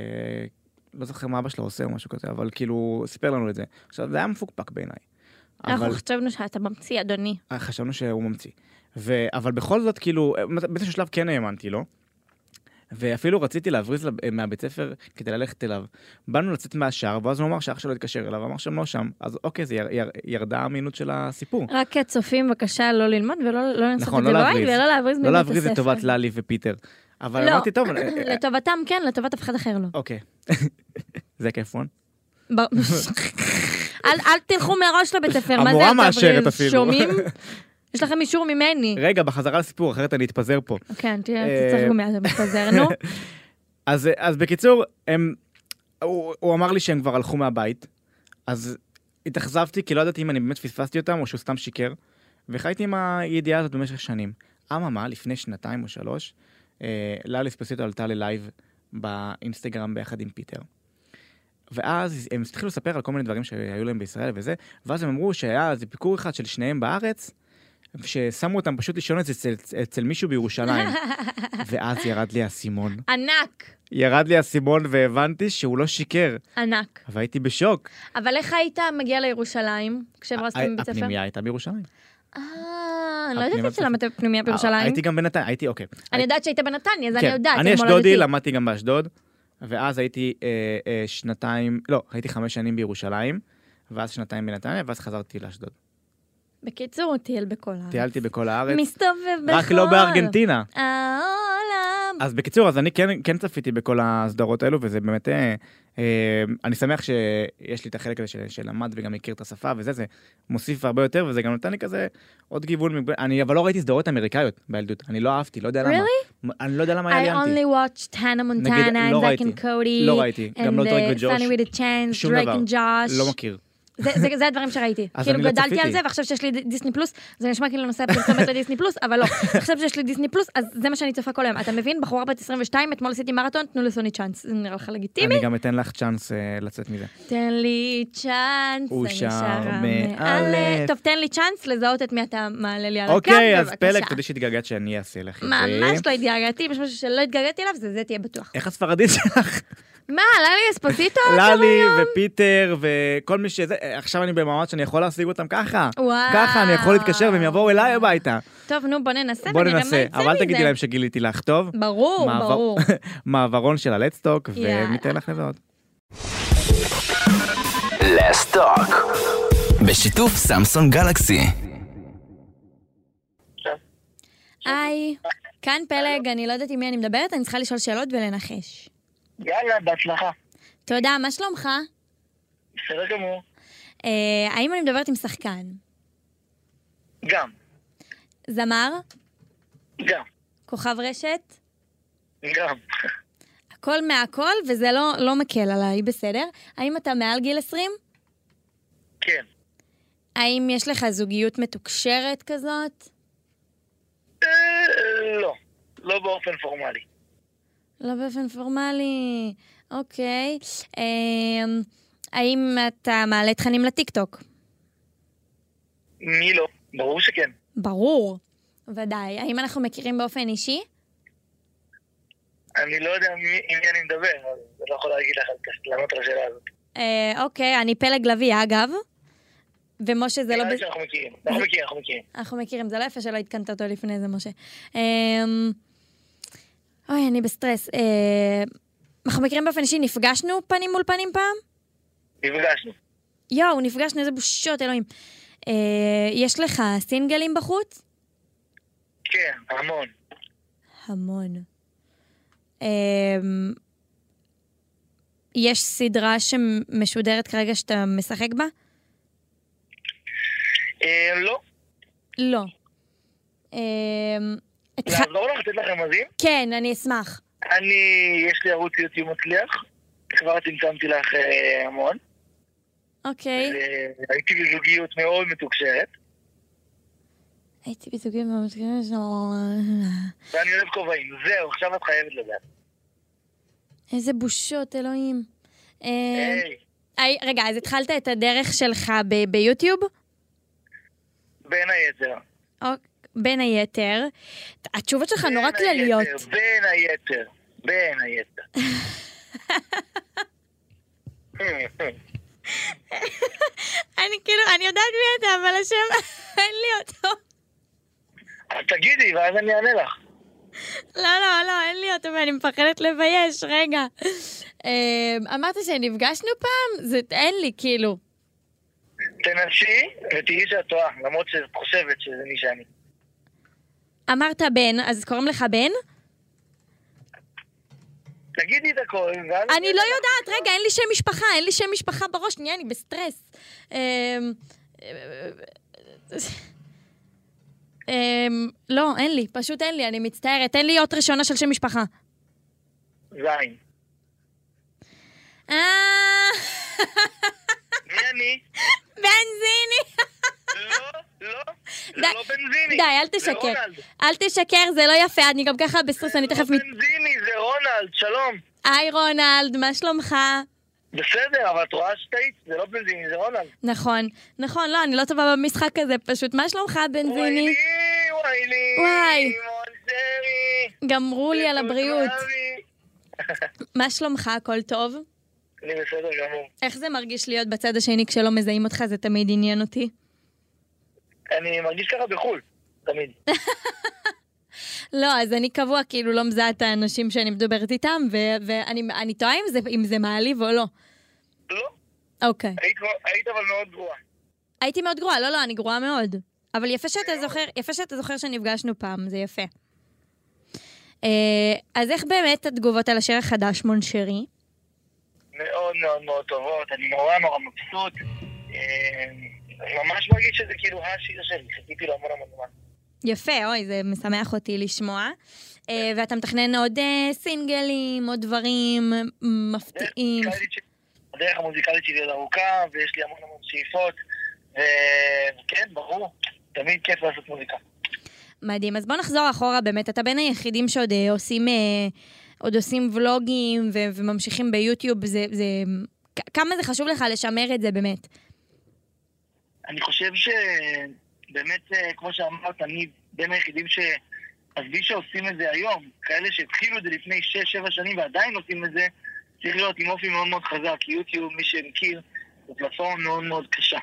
לא זוכר מה אבא שלו עושה או משהו כזה, אבל כאילו, הוא סיפר לנו את זה. עכשיו, זה היה מפוקפק בעיניי. אבל
אנחנו חשבנו שאתה ממציא, אדוני.
חשבנו שהוא ממציא. ו... אבל בכל זאת, כאילו, באיזשהו שלב כן האמנתי לו, ואפילו רציתי להבריז לב- מהבית ספר כדי ללכת אליו. באנו לצאת מהשער, ואז הוא אמר שאח שלו התקשר אליו, אמר שם לא שם. אז אוקיי, זה יר... יר... ירדה האמינות של הסיפור.
רק הצופים, בבקשה, לא ללמוד ולא לא לנסות
נכון,
את זה
לא
בבית
להבריז.
ולא להבריז מבית
לא
הספר.
להבריז לטובת ללי ופיטר. אבל
לא.
אמרתי, טוב, אה, אה,
לטובתם כן, לטובת אף אחד אחר לא.
אוקיי. זה כיפון.
ב- אל אל תלכו מראש לבית הספר, מה זה
המורה
אל
מאשרת
תבריז?
אפילו.
שומעים? יש לכם אישור ממני.
רגע, בחזרה לסיפור, אחרת אני אתפזר פה.
כן,
אה,
תראה, צריך גומיה, זה מתפזר, נו.
אז, אז בקיצור, הם, הוא, הוא אמר לי שהם כבר הלכו מהבית, אז התאכזבתי כי לא ידעתי אם אני באמת פספסתי אותם או שהוא סתם שיקר, וחייתי עם הידיעה הזאת במשך שנים. אממה, לפני שנתיים או שלוש, אה, ללי ספסיטו עלתה ללייב באינסטגרם ביחד עם פיטר. ואז הם התחילו לספר על כל מיני דברים שהיו להם בישראל וזה, ואז הם אמרו שהיה איזה ביקור אחד של שניהם בארץ, ששמו אותם פשוט לישון אצל, אצל מישהו בירושלים. ואז ירד לי האסימון.
ענק,
ירד לי האסימון והבנתי שהוא לא שיקר,
ענק.
והייתי בשוק.
אבל איך היית מגיע לירושלים כשהברזתם
ה-
מבית לא ספר?
אה, הפנימייה הייתה בירושלים.
אה, אני לא
הפנימייה
יודעת
בבית
שלמדת בפנימיה בירושלים.
הייתי גם בנתניה, הייתי, אוקיי.
אני יודעת שהיית בנתניה, אז אני
כן,
יודעת.
אני
זה
אשדודי,
מולדתי.
למדתי גם באשדוד, ואז הייתי אה, אה, שנתיים, לא, הייתי חמש שנים בירושלים, ואז שנתיים בנתניה, ואז חזרתי לאשדוד.
בקיצור, הוא טייל בכל הארץ.
טיילתי בכל הארץ,
מסתובב בכל...
רק לא בארגנטינה.
העולם.
אז בקיצור, אז אני כן, כן צפיתי בכל הסדרות האלו, וזה באמת... אה, אה, אני שמח שיש לי את החלק הזה של, שלמד וגם הכיר את השפה וזה, זה מוסיף הרבה יותר, וזה גם נותן לי כזה עוד גיוון. מב... אני אבל לא ראיתי סדרות אמריקאיות בילדות, אני לא אהבתי, לא יודע למה. מ- אני לא יודע למה
I
היה לי
only watched Hannah Montana
לא
and Zack
ראיתי.
and Cody.
לא ראיתי, גם
and,
לא דרייק
uh,
וג'וש.
Sunny with a Chance,
שום
Drake
דבר.
and Josh.
לא מכיר.
זה, זה, זה הדברים שראיתי.
אז
כאילו
אני לא
גדלתי על
צפיתי.
זה, ועכשיו שיש לי ד- דיסני פלוס, זה נשמע כאילו נושא פרסומת לדיסני פלוס, אבל לא. עכשיו שיש לי דיסני פלוס, אז זה מה שאני צופה כל היום. אתה מבין? בחורה בת 22, אתמול עשיתי מרתון, תנו לסוני צ'אנס. זה נראה לך לגיטימי?
אני גם אתן לך צ'אנס אה, לצאת מזה.
תן לי צ'אנס,
הוא
אני
שר
שרה
מאלף.
מאלף. טוב, תן לי צ'אנס לזהות את מי אתה מעלה לי על הקו,
אוקיי, אז
בבקשה.
פלג, תדעי שהתגעגעת שאני אעשה לך את זה.
ממש לא התגעגעתי, אם יש משהו שלא התגעגעתי אליו, זה זה תהיה בטוח.
איך הספרדית שלך?
מה, ללי אספוזיטו?
ללי ופיטר וכל מי שזה, אה, עכשיו אני במעמד שאני יכול להשיג אותם ככה.
וואו.
ככה אני יכול להתקשר והם יבואו אליי הביטה.
טוב, נו, בוא ננסה
בוא
ונראה מה
ננסה,
יצא
אבל אל
מזה.
תגידי להם שגיליתי לך טוב.
ברור,
מעבר-
ברור.
מעברון של הלדסטוק,
יאללה.
וניתן לך לזהות.
לסטוק. בשיתוף סמסון גלקסי.
היי, כאן פלג, אני לא יודעת עם מי אני מדברת, אני צריכה לשאול שאלות ולנחש.
יאללה, בהצלחה.
תודה, מה שלומך?
בסדר גמור.
אה, האם אני מדברת עם שחקן?
גם,
זמר?
גם,
כוכב רשת?
גם.
הכל מהכל, וזה לא, לא מקל עליי, בסדר? האם אתה מעל גיל 20?
כן.
האם יש לך זוגיות מתוקשרת כזאת?
אה, לא, לא באופן פורמלי.
לא באופן פורמלי, אוקיי. אה, האם אתה מעלה תכנים לטיקטוק?
מי לא? ברור שכן.
ברור. ודאי. האם אנחנו מכירים באופן אישי?
אני לא יודע מי- עם מי אני מדבר, אז אני לא יכול להגיד לך, אז לענות על השאלה הזאת.
אה, אוקיי, אני פלג לביא, אגב. ומשה זה לא...
נראה לי
בס-
שאנחנו מכירים, אנחנו מכירים, אנחנו מכירים.
אנחנו מכירים, זה לא יפה שלא עדכנת אותו לפני זה, משה. אמ, אוי, אני בסטרס. אמ, אנחנו מכירים באופן אישי, נפגשנו פנים מול פנים פעם?
נפגשנו.
יואו, נפגשנו, איזה בושות, אלוהים. אה, יש לך סינגלים בחוץ?
כן, המון.
המון. אמ, יש סדרה שמשודרת כרגע שאתה משחק בה?
אה, לא,
לא. אמ, התח-
לעזור לך, לתת לך רמזים.
כן, אני אשמח.
אני, יש לי ערוץ יוטיוב מצליח, כבר צמצמתי לך אה, המון.
אוקיי.
אה, הייתי בזוגיות מאוד מתוקשרת,
הייתי בזוגים במתקנים של...
ואני אוהב כובעים. זהו, עכשיו את חייבת לדעת.
איזה בושות, אלוהים. אה,
היי.
היי, רגע, אז התחלת את הדרך שלך ב- ביוטיוב?
בין היתר.
או- אוקיי, בין היתר. התשובות שלך אה, נורא
בין היתר,
כלליות.
בין היתר, בין היתר. אה,
אני כאילו, אני יודעת מי אתה, אבל השם, אין לי אותו.
אז תגידי, ואז אני אענה לך.
לא, לא, לא, אין לי אותו ואני מפחדת לבייש, רגע. אה, אמרת שנפגשנו פעם? זה אין לי, כאילו.
תנסי ותראי שאת טועה, למרות שאת חושבת שזה מי שאני.
אמרת בן, אז קוראים לך בן?
תגידי את הכל, ואז...
אני לא יודעת, רגע, אין לי שם משפחה, אין לי שם משפחה בראש, שנייה, אני בסטרס. אמ, אמ, לא, אין לי, פשוט אין לי, אני מצטערת, תן לי אות ראשונה של שם משפחה.
זין.
אה,
מי אני?
בנזיני!
לא, לא, זה
די,
לא בנזיני.
די, אל
זה
תשקר.
רונלד.
אל תשקר, זה לא יפה, אני גם ככה בסטרס, אני תכף...
לא
מת-
בנזיני, זה רונלד, שלום.
היי רונלד, מה שלומך?
בסדר, אבל את רואה שטעית, זה לא בנזיני, זה רונלד.
נכון, נכון, לא, אני לא טובה במשחק הזה, פשוט, מה שלומך,
וואי לי,
בנזיני?
וואי לי,
וואי.
מונזרי.
גמרו לי על הבריאות.
מונזרי.
מה שלומך, הכל טוב?
אני בסדר גמור.
איך זה מרגיש להיות בצד השני כשלא מזהים אותך? זה תמיד עניין אותי.
אני מרגיש ככה בחו"ל, תמיד.
לא, אז אני קבוע כאילו לא מזהה את האנשים שאני מדברת איתם, ו- ואני אני טועה אם זה, אם זה מעליב או לא.
לא,
אוקיי.
היית, היית אבל מאוד גרועה.
הייתי מאוד גרועה, לא, לא, אני גרועה מאוד. אבל יפה שאתה זוכר, יפה שאתה זוכר שנפגשנו פעם, זה יפה. אה, אז איך באמת התגובות על השיר החדש, מונשרי?
מאוד מאוד מאוד טובות, אני נורא נורא מבסוט. אה, אני ממש מרגיש שזה כאילו השיר שלי, חיכיתי לו המון המון זמן.
יפה, אוי, זה משמח אותי לשמוע. אה,
כן,
ואתה מתכנן עוד אה, סינגלים, עוד דברים מפתיעים.
זה- הדרך המוזיקלית שלי עוד ארוכה, ויש לי המון המון שאיפות, וכן, ברור, תמיד כיף לעשות מוזיקה.
מדהים. אז בוא נחזור אחורה באמת. אתה בין היחידים שעוד אה, עושים, אה, עוד עושים ולוגים ו- וממשיכים ביוטיוב. זה, זה, כ- כמה זה חשוב לך לשמר את זה באמת?
אני חושב שבאמת, אה, כמו שאמרת, אני בין היחידים ש... עזבי שעושים את זה היום, כאלה שהתחילו את זה לפני 6-7 שנים ועדיין עושים את זה, צריך להיות עם אופי מאוד מאוד חזק, כי יוטיוב, מי שמכיר, זו פלטפורמה מאוד מאוד קשה.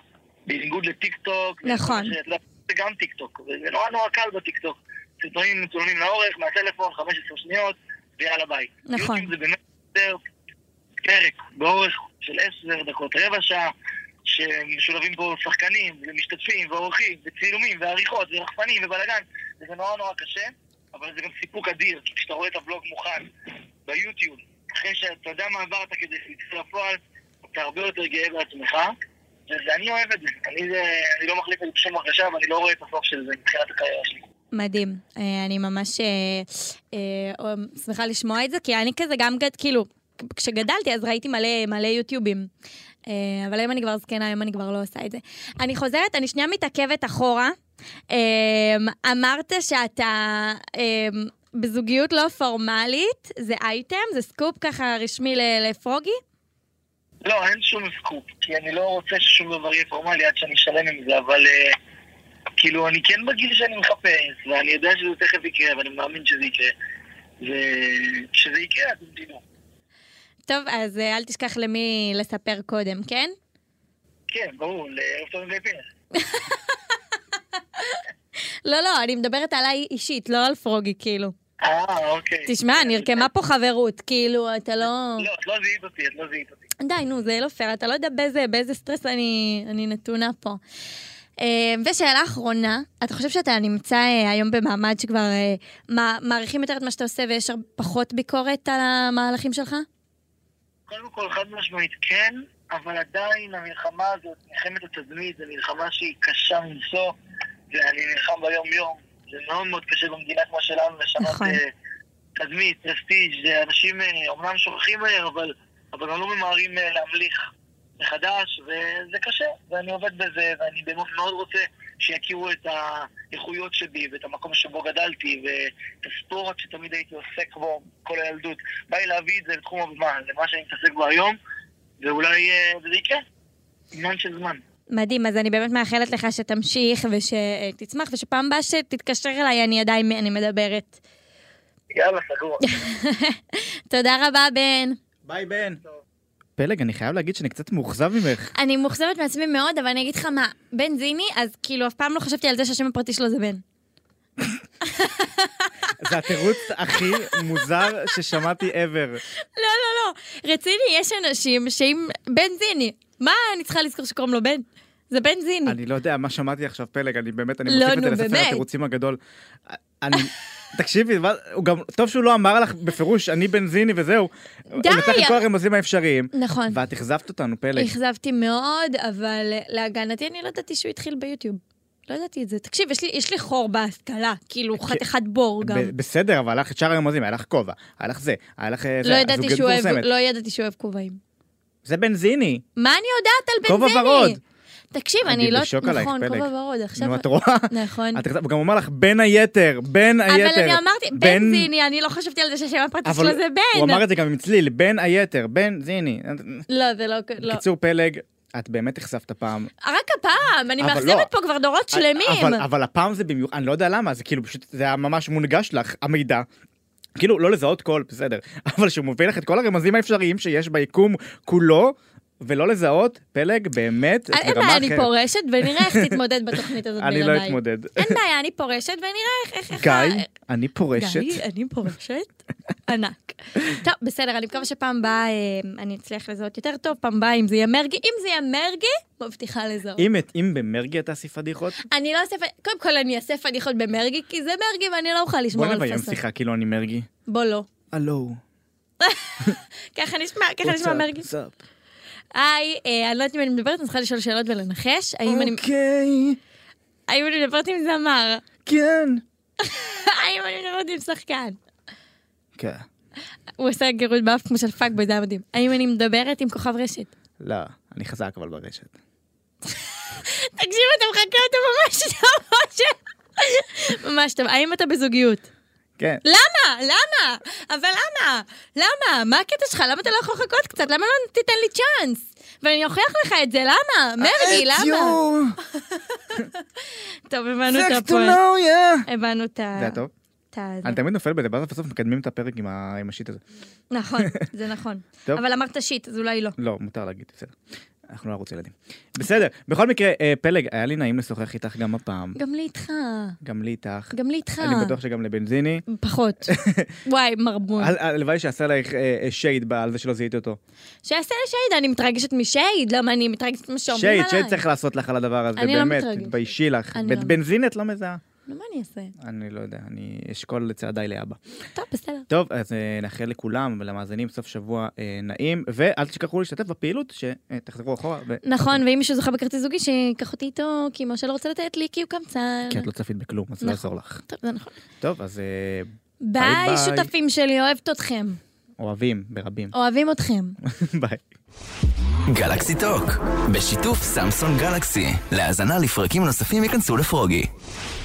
בניגוד לטיק טוק.
נכון.
לא- זה גם טיק טוק, זה נורא נורא קל בטיק טוק. סרטונים מצולמים לאורך, מהטלפון, 15 שניות, ויאללה ביי.
נכון.
יוטיוב זה באמת יותר פרק באורך של 10 דקות, רבע שעה, שמשולבים בו שחקנים, ומשתתפים, ואורחים, וצילומים, ועריכות, ורחפנים, ובלאגן, וזה נורא נורא קשה, אבל זה גם סיפוק אדיר, כי כשאתה רואה את הבלוג מוכן ביוטיוב, אחרי שאתה יודע מה עברת כדי שתצא לפועל, אתה הרבה יותר גאה בעצמך, ואני אוהב את זה. אני, זה, אני לא מחליף את זה בשום הרגשה, ואני לא רואה את הסוף של זה מבחינת הקריירה שלי.
מדהים. אה, אני ממש אה, אה, אה, שמחה לשמוע את זה, כי אני כזה גם, גד- כאילו, כשגדלתי אז ראיתי מלא, מלא יוטיובים. אה, אבל היום אני כבר זקנה, היום אני כבר לא עושה את זה. אני חוזרת, אני שנייה מתעכבת אחורה. אה, אמרת שאתה אה, בזוגיות לא פורמלית, זה אייטם, זה סקופ ככה רשמי ל- לפרוגי?
לא, אין שום סקופ, כי אני לא רוצה ששום דבר יהיה פורמלי עד שאני שלם עם זה, אבל אה, כאילו, אני כן בגיל שאני מחפש, ואני יודע שזה תכף יקרה, ואני מאמין שזה יקרה. וכשזה יקרה, אתם תדעו.
טוב, אז אה, אל תשכח למי לספר קודם, כן?
כן, ברור, לערב טוב עם גיא פינס.
לא, לא, אני מדברת עליי אישית, לא על פרוגי, כאילו.
אה, אוקיי.
תשמע, נרקמה פה חברות, כאילו, אתה לא...
לא, את לא זיהית אותי, את לא זיהית אותי.
די, נו, זה לא פייר, אתה לא יודע באיזה, באיזה סטרס אני, אני נתונה פה. אה, ושאלה אחרונה, אתה חושב שאתה נמצא אה, היום במעמד שכבר אה, מה- מעריכים יותר את מה שאתה עושה ויש הר- פחות ביקורת על המהלכים שלך?
קודם כל, חד משמעית כן, אבל עדיין המלחמה הזאת, מלחמת התדמית, זו מלחמה שהיא קשה מנשוא, ואני נלחם ביום-יום. זה מאוד מאוד קשה במדינה כמו שלנו, לשנות
נכון.
אה, תדמית, פרסטיג', אה, אנשים אה, אומנם שוכחים מהר, אבל, אבל לא ממהרים אה, להמליך מחדש, וזה קשה, ואני עובד בזה, ואני באמת מאוד רוצה שיכירו את האיכויות שבי, ואת המקום שבו גדלתי, ואת הספורט שתמיד הייתי עוסק בו כל הילדות. בא לי להביא את זה לתחום הבמה, למה שאני מתעסק בו היום, ואולי אה, זה יקרה. עניין של זמן.
מדהים, אז אני באמת מאחלת לך שתמשיך ושתצמח, ושפעם הבאה שתתקשר אליי אני עדיין אני מדברת.
יאללה, סגור.
תודה רבה, בן.
ביי, בן. פלג, אני חייב להגיד שאני קצת מאוכזב ממך.
אני מאוכזבת מעצמי מאוד, אבל אני אגיד לך מה, בן זיני, אז כאילו אף פעם לא חשבתי על זה שהשם הפרטי שלו זה בן.
זה התירוץ הכי מוזר ששמעתי ever.
לא, לא, לא. רציני, יש אנשים שאם... בנזיני. מה אני צריכה לזכור שקוראים לו בן? זה בנזיני.
אני לא יודע מה שמעתי עכשיו פלג, אני באמת, אני
לא,
מוסיף את זה
נו,
לספר
באמת.
התירוצים הגדול. אני... תקשיבי, מה- הוא גם, טוב שהוא לא אמר לך בפירוש, אני בנזיני וזהו. הוא נתן את כל
אבל-
הרמזים האפשריים.
נכון.
ואת אכזבת אותנו, פלג.
אכזבתי מאוד, אבל אה, להגנתי אני לא ידעתי שהוא התחיל ביוטיוב. לא ידעתי את זה. תקשיב, יש לי, יש לי חור בהשכלה, כאילו חתיכת בור גם.
כן. ב- בסדר, אבל היה לך את שאר הרמזים, היה לך כובע, היה לך זה, היה לך... אה, זה,
לא ידעתי
זוגיות
שהוא אוהב-
מפורסמת.
לא ידעתי שהוא אוהב כובעים.
זה בנזיני.
מה אני יודעת על בנזיני?
כובע ורוד.
תקשיב,
אני
אני לא...
בשוק עלייך,
נכון,
פלג.
כובע ורוד. עכשיו...
נו, את רואה?
נכון.
את- הוא גם אמר לך, בין היתר, בין היתר.
אבל אני אמרתי,
בין-
בנזיני, אני לא חשבתי על זה שהשם הפרטי
אבל
שלו זה בן.
הוא אמר את זה גם עם צליל, בין היתר, בין זיני.
לא, זה לא... לא.
בקיצור, פלג, את באמת אכזבת פעם.
רק הפעם, אני
אבל לא.
מאכזבת פה כבר דורות שלמים.
אבל, אבל הפעם זה במיוחד, אני לא יודע למה, זה כאילו פשוט, זה היה ממש מונגש לך, המידע. כאילו, לא לזהות קול, בסדר, אבל שהוא מוביל לך את כל הרמזים האפשריים שיש ביקום כולו, ולא לזהות, פלג, באמת, את
אין
ברמה
בעיה, אני
אחרת.
פורשת ונראה איך תתמודד בתוכנית הזאת
כן. אני לא
בלעדיי.
אתמודד.
אין בעיה, אני פורשת ונראה איך- איך... איך ה-
גיא, אני פורשת.
אה, גיא, אני פורשת? ענק. טוב, בסדר, אני מקווה שפעם הבאה אה, אני אצליח לזהות יותר טוב, פעם הבאה אם זה יהיה מרגי. אם זה יהיה מרגי, מבטיחה לזהות.
אם את- אם במרגי אתה אעשה פדיחות,
אני לא אעשה... פ- קודם כל, אני אעשה פדיחות במרגי, כי זה מרגי ואני לא אוכל לשמור
בוא
על
נביים
פסק.
שיחה כאילו אני מרגי.
בוא לא.
הלו.
ככה נשמע, ככה נשמע מרגי. היי, אה, אני לא יודעת אם אני מדברת, אני צריכה לשאול שאלות ולנחש. האם אני-
אוקיי,
האם אני מדברת עם זמר?
כן.
האם אני מדברת עם שחקן?
כן.
הוא עושה גירות באף כמו של פאק בוי, זה היה מדהים. האם אני מדברת עם כוכב רשת?
לא, אני חזק אבל ברשת.
תקשיב, אתה מחכה אותו ממש טוב, משה. ממש טוב. האם אתה בזוגיות?
כן.
למה? למה? אבל למה? למה? מה הקטע שלך? למה אתה לא יכול לחכות קצת? למה לא תיתן לי צ'אנס? ואני אוכיח לך את זה, למה? לא, מרגי, למה? טוב, הבנו את הפועל.
יא!
הבנו את ה...
זה היה טוב?
את ה- זה.
אני תמיד נופל בזה, ואז בסוף מקדמים את הפרק עם ה- עם השיט הזה.
נכון, זה נכון.
טוב.
אבל אמרת שיט, אז אולי לא.
לא, מותר להגיד, בסדר. אנחנו לא ערוץ ילדים. בסדר, בכל מקרה, אה, פלג, היה לי נעים לשוחח איתך גם הפעם,
גם לי איתך.
גם לי איתך.
גם לי איתך.
אני בטוח שגם לבנזיני.
פחות. וואי, מרמון.
הל- הלוואי שעשה עלייך אה, אה, שייד ב- על זה שלא זיהיתי אותו.
שיעשה לי שייד, אני מתרגשת משייד. למה אני מתרגשת ממה שאומרים עליי?
שייד, שייד צריך לעשות לך על הדבר הזה,
אני לא
באמת,
מתרגשת.
תתביישי לך.
אני
בית
לא-
בנזין את לא מזהה?
נו, מה אני אעשה?
אני לא יודע, אני אשקול לצעדיי לאבא.
טוב, בסדר.
טוב, אז אה, נאחל לכולם ולמאזינים סוף שבוע אה, נעים, ואל תשכחו להשתתף בפעילות, שתחזרו אחורה. ו-
נכון, ואם מישהו זוכה בכרטיס זוגי, שיקח אותי איתו, כי משה לא רוצה לתת לי, כי הוא קמצן.
כי את לא צפית בכלום, אז לא
נכון.
יעזור לך.
טוב, זה נכון.
טוב, אז אה, ביי,
ביי,
ביי.
שותפים שלי, אוהבת אתכם.
אוהבים ברבים.
אוהבים אתכם.
ביי.
גלקסי טוק, בשיתוף סמסון גלקסי. להאזנה לפרקים נוספים ייכנסו לפרוגי.